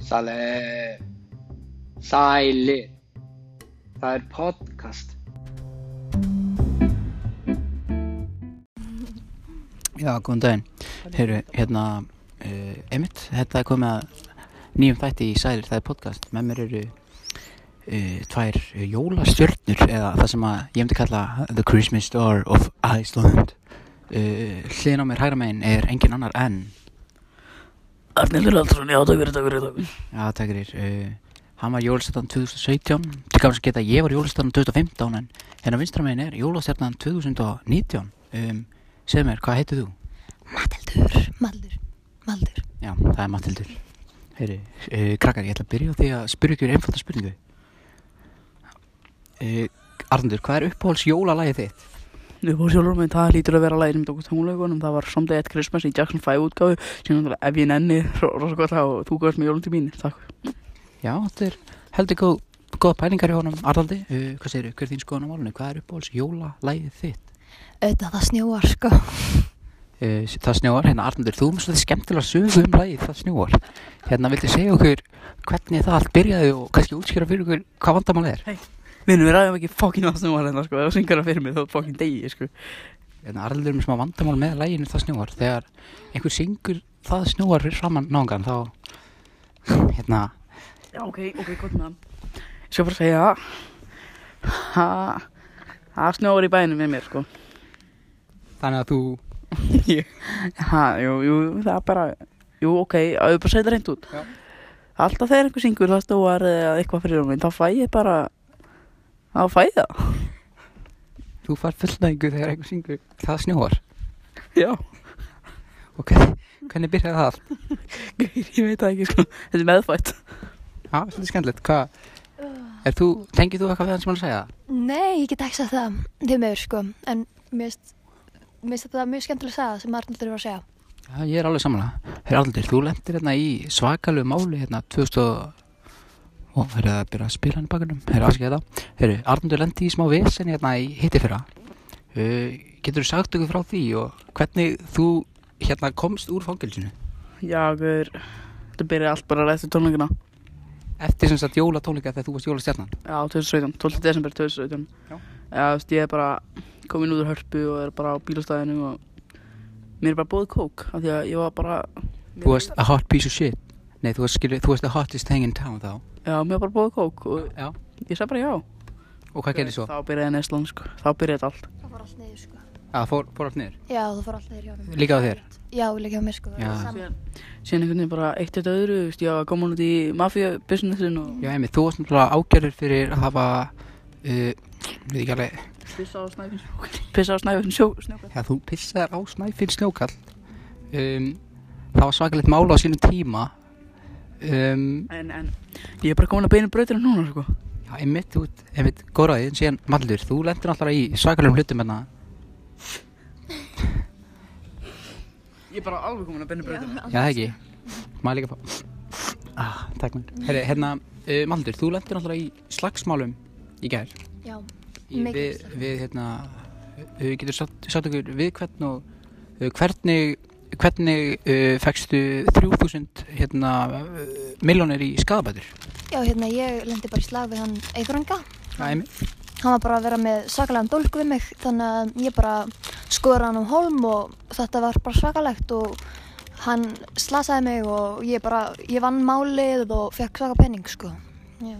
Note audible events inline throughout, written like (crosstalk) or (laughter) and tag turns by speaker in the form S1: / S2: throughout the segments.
S1: Sælir. Sælir. Það er podcast.
S2: Já, góðan daginn. Heyrðu, hérna, uh, einmitt, þetta er komið að nýjum þætti í Sælir, það er podcast. Með mér eru uh, tvær jólastjörnur eða það sem að ég myndi kalla The Christmas Star of Iceland. Uh, hliðin á mér hægra megin er engin annar en,
S3: Arnildur Aldsson, já, takk fyrir, takk fyrir, takk fyrir.
S2: já, það er, uh, hann var jólastjörnan 2017. Til kannski geta að ég var jólastjörnan 2015 en hérna vinstra megin er jólastjörnan 2019. Um, segð mér, hvað heitir þú?
S3: Matildur, Maldur, Maldur.
S2: Já, það er Matildur Heyri, uh, krakkar, ég ætla að byrja á því að spyrja ykkur einfalda spurningu uh, Arndur, hvað er uppáhalds jólalagið þitt?
S3: Nú fór sjálfur minn, það hlýtur að vera lægin um okkur tónleikunum, það var Someday at Christmas í Jackson 5 útgáfu, sem náttúrulega ef ég nenni, ro- rosa gott þá, þú gafst mér jólum til mín, takk.
S2: Já, þetta er heldur góð, góð pælingar hjá honum Arnaldi, uh, hvað segir hver er þín skoðan á málunni? Hvað er uppáhalds jólalagið þitt?
S4: auðvitað það snjóar sko
S2: Uh, það snjóar, hérna Arnaldur, þú mjög svolítið skemmtilega sögu um lagið það snjóar Hérna, viltu segja okkur hvernig það allt byrjaði og kannski útskýra fyrir okkur hvað vandamál er?
S3: Vinnu, við ræðum ekki fokkin að snúma hérna, sko, ef þú syngur það fyrir mig, þá er fokkin degi, sko.
S2: Hérna, Arnaldur er með smá vandamál með læginu Það snjóar Þegar einhver syngur Það snjóar fyrir framann náðan Þá, hérna,
S3: Já, ok, ok, gott með hann. Ég skal bara segja, ha, það snjóður í bænum með mér, sko.
S2: þannig að þú
S3: ha, jú, jú, það er bara, jú, ok, að við bara segja það reynd út.
S2: Já.
S3: Alltaf þegar einhver syngur það stóar eða eitthvað fyrir hún, þá fæ ég bara, þá fæ ég það.
S2: Þú far fullnæðingu þegar einhver syngur Það snjóar
S3: Já, (laughs)
S2: Og hvernig, hvernig byrjaði það allt?
S3: Geir, ég veit það ekki, sko, þetta er meðfætt.
S2: Já, svolítið skemmtilegt Hvað, er þú, tengir þú eitthvað við hann sem hann segja?
S4: nei, ég get ekki sagt það þið meður sko en mér finnst- mér finnst þetta mjög skemmtilega að segja sem Arnaldur var að segja
S2: Já, ég er alveg samanlega Herra Arnaldur, þú lendir hérna í svakalegu máli Hérna, 2000 og- Ó, herra, það er að byrja að spila hann í bakunum Herra, afskið þetta Herra, Arnaldur lendi í smá vesen hérna í hitti fyrra Getur þú sagt okkur frá því og hvernig þú hérna komst úr fangilsinu?
S3: Já, Geir, þetta byrjaði allt bara rætt í tónleikina.
S2: Eftir sem sagt jólatónleika þegar þú varst jólastjarnan
S3: Já, 2017, 12. desember 2017.
S2: Já.
S3: Já, þú veist, ég er bara komin út úr hörpu og er bara á bílastæðinu og mér er bara bóðið kók, af því að ég var bara...
S2: Þú varst a hot piece of shit Nei, þú varst, skilur, þú varst the hottest thing in town þá
S3: Já, mér var bara bóðið kók og
S2: Já
S3: ég sagði bara já.
S2: Og hvað gerði svo?
S3: Þá byrjaði Neslan sko, þá byrjaði þetta allt
S4: það fór allt niður sko
S2: Það fór, fór allt niður
S4: já, það fór allt niður hjá mér
S2: Líka á þér?
S4: já, líka á mér sko
S2: Já.
S4: Sam-
S3: Síðan einhvern veginn bara eitt eitt öðru, þú veist, ég var komin út í mafíabusinessin og
S2: Já, einmitt, þú varst náttúrulega ágjörður fyrir að hafa uh, Við ekki alveg
S3: pissa á snæfinn snjókall Pissa á snæfinn snjókall
S2: Já, þú pissaðir á snæfinn snjókall um, Það var svakalegt mála á sínum tíma um,
S3: En, en, ég er bara komin að beina brautina núna sko
S2: Já, einmitt, þú ert- einmitt, góðraðið Síðan, Mallur, þú lendir náttúrulega í svakalegum hlutum hérna
S3: Ég er bara alveg komin að beina brautina
S2: Já, það ekki Maður líka fá ah, Takk mér Herri, hérna, uh, Maldur, þú lendir náttúrulega í slagsmálum í gær
S4: já,
S2: í,
S4: Mikið
S2: við,
S4: slagsmál.
S2: við, hérna, við getur sagt, sagt okkur við hvern og uh, hvernig hvernig uh, fegstu 3000 hérna, uh, miljónir í skadabætur
S4: já, hérna ég lendi bara í slag við hann Eifranga
S2: Æmi
S4: hann var bara að vera með svakalega dólk við mig þannig að ég bara skora hann um holm og þetta var bara svakalegt og hann slasaði mig og ég bara, ég vann málið og fekk svaka penning sko já,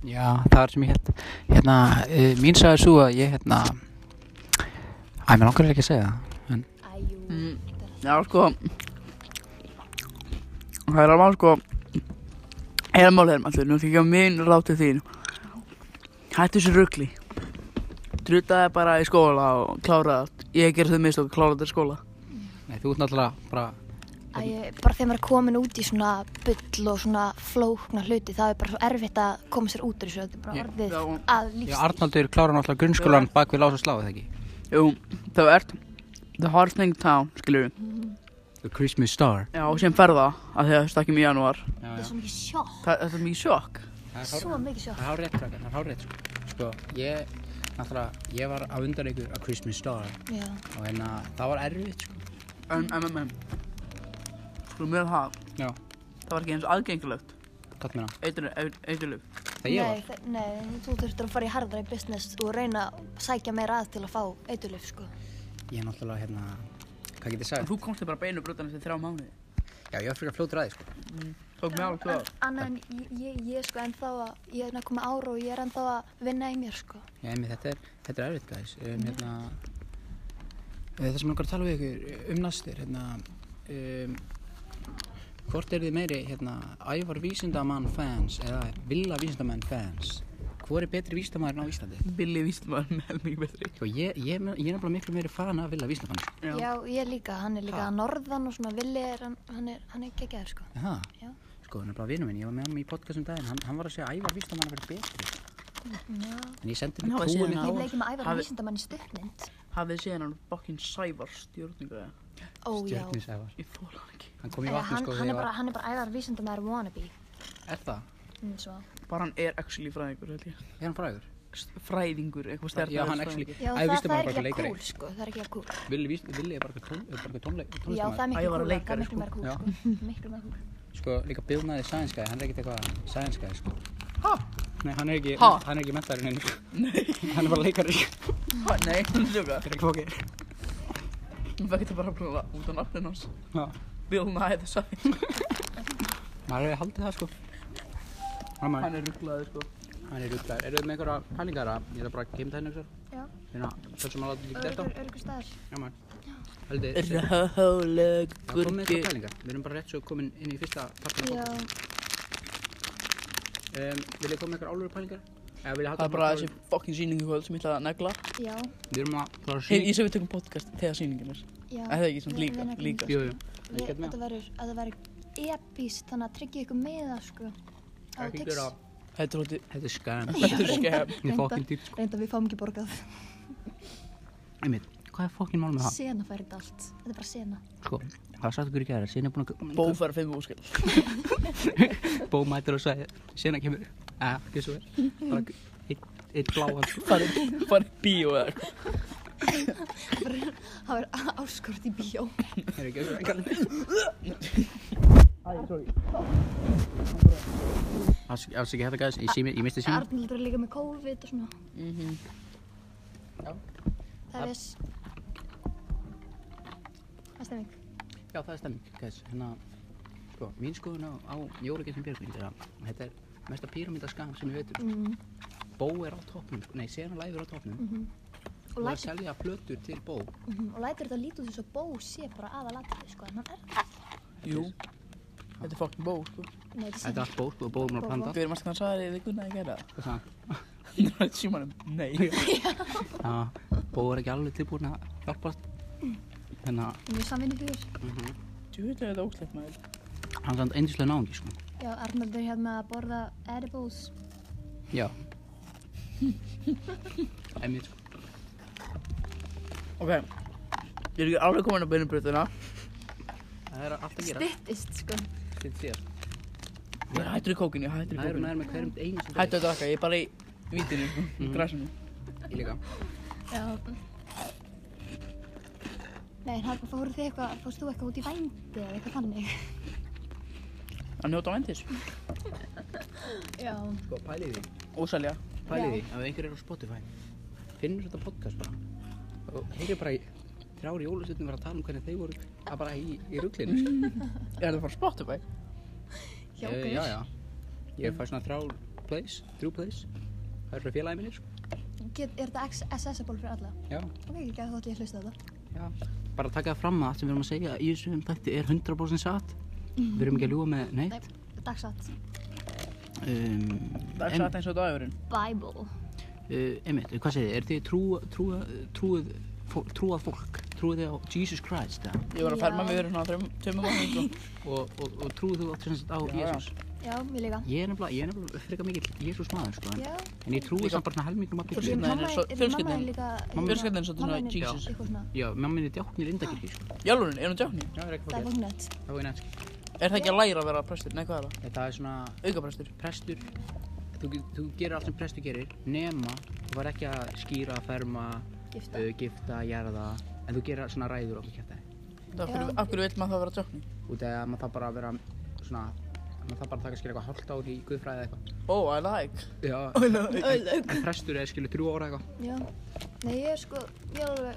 S2: Já, það er sem ég held hérna, uh, mín sagði svo að ég hérna Æ, mér langar ekki að segja það en
S4: æjú
S3: mm, Já sko Það er alveg sko Eða mál er maður, nú kikja minn ráti þín Hættu þessu rugli Druttaði bara í skóla og kláraði allt Ég gerði þau mistök, kláraði þetta í skóla
S2: Nei, þú ert náttúrulega bara
S4: Æ, ég- bara þegar maður er komin út í svona bull og svona flókna hluti það er bara svo erfitt að koma sér út úr þessu þetta er bara
S2: Já.
S4: orðið
S3: Já, og-
S4: að
S2: Já,
S4: lífstíl
S2: Arnaldur klára náttúrulega grunnskólan bak við lása sláðu það ekki
S3: Jú, þá ert The hardest thing in town, skilur við
S2: The Christmas Star
S3: Já, sem ferða, af því að það stakkum í janúar
S2: Já,
S4: það er
S2: já.
S4: svo mikið sjokk,
S3: Þa- Þetta er mikið sjokk
S4: svo mikið sjokk
S2: Það er hárétt, krakkar, það er hárétt sko. sko, ég, náttúrulega, ég var á undan ykkur á Christmas Star
S4: já,
S2: og hérna, það var erfitt sko.
S3: En, en, en, en Sko, mér er það
S2: Já,
S3: Það var ekki eins og aðgengilegt.
S2: gott mér á.
S3: Eiturlöf.
S2: Það ég
S4: nei,
S2: var.
S4: þe- nei, þú þurftur að fara í harðra í business og reyna að sækja meira að til að fá eiturlif, sko.
S2: Ég er náttúrulega hérna, hvað get ég
S3: En
S2: sagt?
S3: þú komst þér bara beinu brotana til þrjá mánuði.
S2: Já, ég var fyrir að fljóta ræði, sko.
S3: Tók mig alveg tvö ár.
S4: Annað en ég, ég, ég er sko ennþá að, ég er að koma ára og ég er ennþá að vinna í mér, sko.
S2: Já, emi, þetta er, þetta er erfitt, guys.
S4: Mhm.
S2: Um, hérna, eh, það sem ég langar að tala við ykkur um næstir, hérna, um, hvort er þið meiri, hérna, ævar vísindamann fans eða villa vísindamann fans? Hvor er betri vísindamæðurinn á Íslandi?
S3: Billy Vísnumar með mjög betri.
S2: Sko, ég, ég, ég er nefnilega miklu meiri fan af villa vísindamann.
S4: Já, ég líka, hann er líka
S2: Ha.
S4: að norðan og svona villi er, hann, hann er, hann er geggjaður, sko.
S2: Aha.
S4: Já.
S2: Sko, hann er bara vinnu minn, ég var með hann í podcastum daginn, hann, hann var að segja að ævar vísindamenn að vera betri.
S4: Já.
S2: En ég sendi
S3: Hann
S2: mér
S3: hafa
S2: trúið
S3: síðan
S2: mitt á
S3: hann.
S4: Ég
S2: hann.
S4: leiki með ævar
S3: Hafi-
S4: Hafi... vísindamann í stuttmynd.
S3: Hafið séð hann bókin Sævar stjórningu eða?
S4: Ó, já.
S2: Stjörnusævar.
S3: Ég þóla hann ekki.
S2: Hann kom í
S4: Eða,
S2: vatni
S4: hann,
S2: sko þegar
S4: hann, er
S2: ég
S4: bara,
S2: var...
S4: hann er bara ævar vísindamæður wannabe.
S2: Er það?
S4: Mm, svo.
S3: Bara hann er actually fræðingur held ég.
S2: Er hann frægur?
S3: St- Fræðingur, eitthvað stærðar.
S2: Já, hann actually...
S4: Já,
S2: Ævar
S4: það, það
S2: vísindamenn
S4: er
S2: er bara
S4: ekki
S2: leikari.
S4: cool, sko. Það er ekki cool.
S2: Villi vísindamenn, Villi er bara eitthvað tón- er bara eitthvað tónleik-
S4: Já, það er
S2: tónlistarmaður.
S3: Ævar var
S4: miklu kúla, það er
S3: leikari,
S4: miklu meira
S2: Já.
S4: kúl, sko. Miklu meira kúl.
S2: Sko, líka Bill Nye er science guy, hann er ekkert eitthvað science guy sko.
S3: Ha?
S2: Nei, hann er ekki,
S3: Ha?
S2: hann er ekki mentarinn einu.
S3: Nei,
S2: sko. Hann er bara leikari. sko.
S3: ha, nei, hann er sjóka.
S2: Það er ekki fókir.
S3: Hún fekk þetta bara bara út á nafnin hans.
S2: Já.
S3: Bill Nye the Science.
S2: Maður hefði haldið það sko. Hann er,
S3: Hann er rugglaður sko.
S2: hann er rugglar. Eru þið með einhverja pælingar að ég er bara að geima það henni ykkur?
S4: Já.
S2: Hérna, svo sem að láta líka þetta á.
S4: Örgur, örgur staðar.
S2: Já maður. Haldið, það
S3: Ráleg
S2: komið eitthvað pælingar. Við erum bara rétt svo komin inn í fyrsta partin.
S4: Já,
S2: Um, vil ég koma með eitthvað álur pælingar? Eða vil ég
S3: Það
S2: halda
S3: er bara þessi fokkin sýningu kvöld sem ég ætlaði að negla.
S4: já,
S2: Við erum að fara að
S3: Ég,
S2: sín.
S3: ég sem við tökum podcast þegar sýningin er.
S4: já.
S3: Er það ekki svona
S4: Við-
S3: líka-
S4: við nefnum-
S3: líka?
S2: Jú, jú.
S4: Við-
S2: Ekkert með.
S4: Þetta verður, að það verður epíst, þannig að tryggja ykkur með það, sko. Á
S2: Ekki
S4: Tix.
S2: gera.
S3: Þetta er hótti,
S2: Þetta er skæm.
S3: þetta er skemm.
S2: Ég er fokkin dýrt sko.
S4: Reynda við fáum ekki borgað.
S2: Einmitt, hvað er fokkin mál með það?
S4: Sena fær þetta allt. Þetta er bara sena.
S2: Sko, hvað sagt ykkur í gæra? Sina er (laughs) búin að...
S3: Bó fær fimm úrskill.
S2: Bó mætir og sagði. Sina kemur. Æ, ekki svo vel. Bara einn- einn
S4: (laughs)
S2: bláan sko.
S3: Farið bíó eða eitthvað.
S4: Það verður áskort í bíó.
S2: Er ekki svo vel. Alls alls ekki þetta gæðis. Ég, sími- ég misti síma.
S4: Arnildur er líka með COVID og svona. Mhm. Það er viss. Það er stemming.
S2: Já, það er stemming, guys. Hérna, sko, mín skoðun á, á Jólagessin Björgvins er að þetta er mesta píramítaskam sem við veitum.
S4: Mm.
S2: Bó er á toppnum, sko, nei, Sena Live er á toppnum. Mm Og
S4: Og,
S2: að
S4: lætur,
S2: selja plötur til Bó.
S4: mhm, og lætur þetta lítið út þess að bó sé bara aðalatrið, sko. En hann er,
S3: Jú. Þetta er fokkin bó, sko.
S4: nei, þetta er
S2: Þetta er
S4: sena.
S2: allt Bó, sko, og Bó er mér að
S4: Bó,
S2: planta.
S3: Við erum alltaf hann sagði þið Gunnar að gera það.
S2: Hvað sagði hann?
S3: (laughs) Ég er að símanum. Nei. (laughs)
S2: Já, Bó er ekki alveg tilbúin að hjálpast. Hérna, Þannig að
S4: Mjög samvinni fyrir.
S3: Þú veit að þetta er óklætt maður.
S2: hann er samt eindislega náðungi, sko.
S4: Já, Arnaldur er hérna að borða edibles.
S2: Já. Einmitt, sko.
S3: Ok. Ég er ekki alveg komin að beinubröðuna.
S2: Það er allt að gera.
S4: Stittist, sko.
S2: Stitt þér.
S3: Ég er hættur í kókinu, ég er hættur í
S2: Það eru
S3: kókinu.
S2: nær með hverjum einastu
S3: Hættu að drakka, ég er bara í vítinu, sko. Mm. Græsinu.
S2: Ég líka.
S4: Já. Nei, en Harpa, fóruð þið eitthvað, fórst þú eitthvað út í vændi eða eitthvað þannig?
S3: Að njóta vendis.
S4: Já.
S2: Sko, pælið því.
S3: Og selja.
S2: Pælið
S4: Já.
S2: því, ef einhver er á Spotify finnur þetta podcast bara og heyrir bara í þrjári jólasutnum vera að tala um hvernig þeir voru að bara í, í rugglinu
S3: Ég er að fara á Spotify.
S4: Já,
S2: Eh,
S4: ok.
S2: já, já. Ég fæ svona þrjár plays, þrjú plays Það eru svona félagi minni, sko
S4: Get, er þetta access- accessible fyrir alla?
S2: Já,
S4: Ok, ekki gæði þátt ég að hlusta á þetta.
S2: já Bara taka það fram að allt sem við erum að segja í þessum þætti er 100% satt Við erum ekki að ljúga með neitt
S4: Nei, dagsatt.
S2: um,
S3: Það er satt eins og dagurinn.
S4: Bible.
S2: uh, Emil, hvað segir þið? Er þið trú, trú, trúið, fó- trúað fólk? Trúið þið á Jesus Christ? eða?
S3: Ég var að
S4: Já.
S3: ferma mig verið svona tömum mánuðum, sko.
S2: Og, og, og trúið þú á, sem sagt á
S3: Já, já.
S2: Jesus?
S4: Já, mér líka.
S2: Ég er nefnilega, ég er nefnilega frekar mikill Jésús maður, sko, en,
S4: Já.
S2: en ég trúi
S3: Líka-
S2: samt bara svona helmingum að
S4: Ég-
S2: byggjum.
S3: Fjölskyldan
S4: mamma
S3: er svo-
S4: er-
S3: fjölskyldan.
S4: Mamma er líka...
S3: Mamma- Fjölskyldan er svolítið
S4: mamma
S3: svona Jesus.
S4: Eitthvað svona.
S2: Já, mamman er djáknir indakirkir, sko.
S3: Jálurinn, er hún djáknir?
S2: Já, það er ekki
S4: Það er
S2: fólk.
S4: fóknett.
S2: Það var nætt, sko.
S3: Er það ekki að læra að vera prestur? Nei, hvað er það?
S2: Þetta er svona,
S3: Aukaprestur.
S2: prestur, þú, ge- þú gerir allt sem prestur gerir, nema, þú var ekki að skýra, ferma,
S4: Gifta.
S2: uh, gifta, jarða, en þú gerir svona ræður okkur kjæftæði.
S3: Það er af hverju vill maður það vera djáknir?
S2: Út af að maður þarf bara að vera
S1: svona, maður þarf bara að taka skilja eitthvað hálft ár í guðfræði eða eitthvað.
S3: Oh, I like
S1: Já,
S3: I like (laughs)
S1: en prestur er skilja þrjú ára eða eitthvað.
S4: Já. Nei, ég er sko, ég er alveg,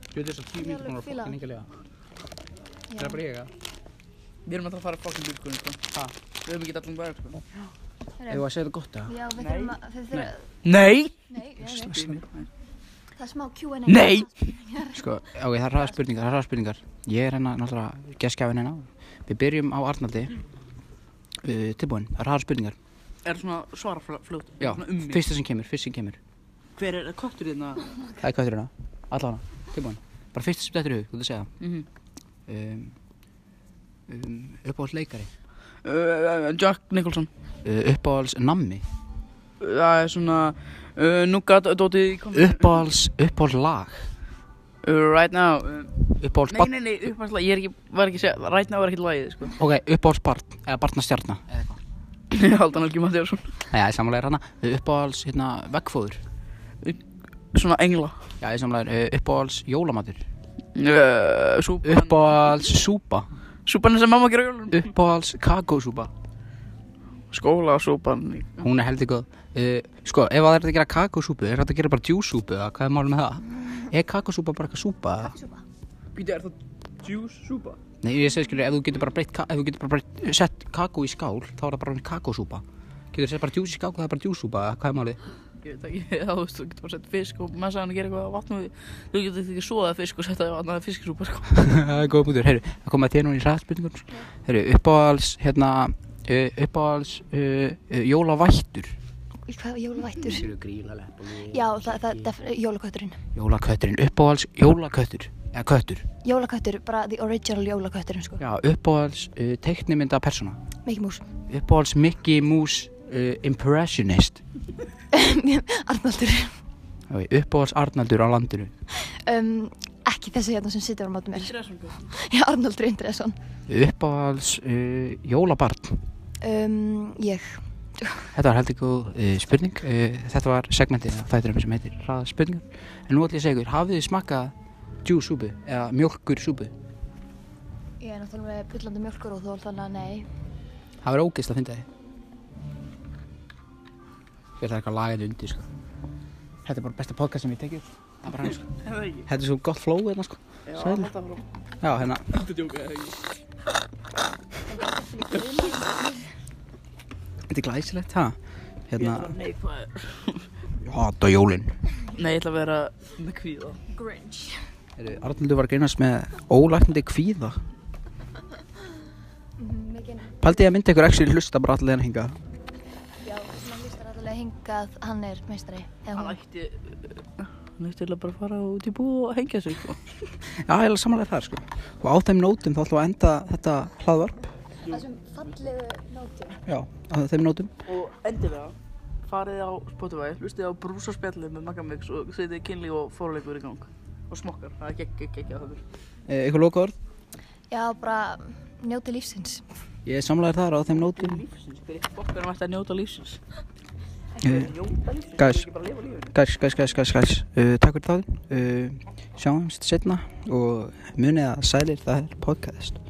S1: Þú veit þess að tíu
S4: Ég
S1: mínútur
S4: alveg
S1: konar
S4: fíla það.
S1: fokkin engilega.
S4: já.
S1: Það er bara ég, eða?
S3: Við erum alltaf að fara fokkin bílkunni sko
S1: Ha?
S3: Við erum ekki allan bæðar sko
S1: Eða að segja þetta gott, eða?
S4: Já, við þurfum að, þið þurfum að,
S3: Nei
S4: nei, nei, nei,
S2: Sko,
S4: það er smá Q&A.
S3: Nei.
S2: ok, það er hraða spurningar, það er hraða spurningar. Ég er hérna náttúrulega geskjafin hérna. Við byrjum á Arnaldi. Uh, tilbúin, það er hraða spurningar.
S3: Er svona svara fl- fljótt
S2: Já,
S3: Svona um mig.
S2: fyrsta sem kemur, fyrsta sem kemur.
S3: Hver er kottur þérna?
S2: Það er kvötur hérna, allana, tilbúin. Bara fyrsta sem þetta er hug, þú ert að segja.
S3: Mhm.
S2: Um, um, uppáhalds leikari.
S3: Uh, Jack Nicholson
S2: Uh, uppáhalds nammi.
S3: Það er svona uh, Nougat, Dóti
S2: Uppáhalds, uppáhalds lag.
S3: uh, Right now uh,
S2: Uppáhalds
S3: Nei,
S2: barn.
S3: nei, nei, uppáðslega Ég er ekki, var ekki að segja Right now var ekki lagið sko (laughs)
S2: Ok, uppáhalds barn, eða barnastjarnar.
S3: Haldan Helgi Matthjálsson
S2: Nei, það er samanlega hérna. Uppáhalds, hérna, veggfóður.
S3: Svona engla
S2: Já, ég samlega uh, uppáhalds jólamatur
S3: uh, Súpan
S2: Uppáhalds súpa
S3: Súpan sem mamma gera á jólunum
S2: Uppáhalds kakósúpa
S3: Skóla súpan
S2: Hún er heldur góð uh, Sko, ef það er að gera kakósúpu, er þetta að gera bara djúsúpu eða hvað er málum með það? Er kakósúpa bara eitthvað súpa? eða?
S3: Býta, er það juice súpa?
S2: Nei, ég segi skilur, ef þú getur bara breytt ka- ef þú getur bara breytt, sett kakó í skál þá er það bara kakósúpa Getur þú sett bara djús í skál og það er bara djúsúpa eða hvað er málið? (laughs)
S3: Ég veit ekki, (laughs) þá veist, þú getur bara sett fisk og messa hann að gera eitthvað að vatnum Þú getur ekki svoðað fisk og setja það í vatnum að fiskisúpa sko.
S2: Það er góð bútur, heyrðu, það komið að þér núna í ræðspurningum Heyrðu, uppáhalds, hérna, uh, uppáhalds uh, uh, jólavættur
S4: Í hvað, jólavættur?
S2: Grílalepp og
S4: Já, það, það, það, jólakötturinn.
S2: Jólakötturinn, uppáhalds jólaköttur Eða köttur
S4: Jólaköttur, bara the original jólakötturinn, sko.
S2: Já, uppáhalds uh, teiknimynda persóna
S4: Mikið mús.
S2: Uppáhalds Mickey Mouse uh, impressionist
S4: Arnaldur.
S2: Já, Uppáhalds Arnaldur á landinu
S4: Um, ekki þessi hérna sem situr á mátum mér.
S3: Stressfólk
S4: Já, Arnaldur Indriðsson.
S2: Uppáhalds uh, jólabarn
S4: Um, ég.
S2: Þetta var heldur góð uh, spurning uh, Þetta var segmentið af þætturum sem heitir Hraða spurningar En nú ætlum ég að segja ykkur, hafið þið smakkað djúsúpu eða mjólkursúpu?
S4: Ég er náttúrulega með byllandi mjölkur og þól, þannig að nei.
S2: Það verður ógeist að finna þið Ég ætla eitthvað að laga þetta undir sko. Þetta er bara besta podcast sem ég tekið Það er bara hann sko
S3: Það ekki
S2: Þetta er svo gott flow hérna sko
S3: Já,
S2: Sæl.
S3: þetta frá
S2: Já, hérna
S3: Þetta djóka, það ekki
S2: Þetta er glæsilegt, ha?
S3: Ég
S2: Hérna
S3: ætla að neikvæður
S2: Ég hata jólin
S3: Nei, ég ætla að vera með kvíða
S4: Grinch.
S2: Arnaldur var að greinast með ólæknandi kvíða
S4: Mikið,
S2: Paldi ég að myndi ykkur ekki hlusta bara allir hérna en hinga
S4: já, sem hann listar allavega hingað, hann er meistari. Eða
S3: Hann
S4: hún.
S3: ætti Hann ætti eiginlega bara að fara út í búð og hengja sig sko.
S2: Já, ég er samanlega það sko Og á þeim nótum þá ætlum við að enda þetta hlaðvarp
S4: Það sem fallegu nótum.
S2: Já, á þeim nótum
S3: Og endilega Farið á Spotify, hlustið á brúsa spjallið með Magamix og setið kynli og fóruleikur í gang og smokkar, það er gekk, gekk, gekk að það er
S2: e, Ykkur loka orð
S4: Já, bara njóti lífsins.
S2: Ég er samanlega það á þeim nótum
S3: lífsins, hver er fokk erum alltaf að njóta lífsins
S2: Eh,
S3: Njóta lífsins,
S2: guys.
S3: ekki bara lifa lífinu
S2: Gæs, gæs, gæs, gæs, gæs uh, Takk Eh, fyrir það uh, Sjáumst setna Og munið að sælir það er podcast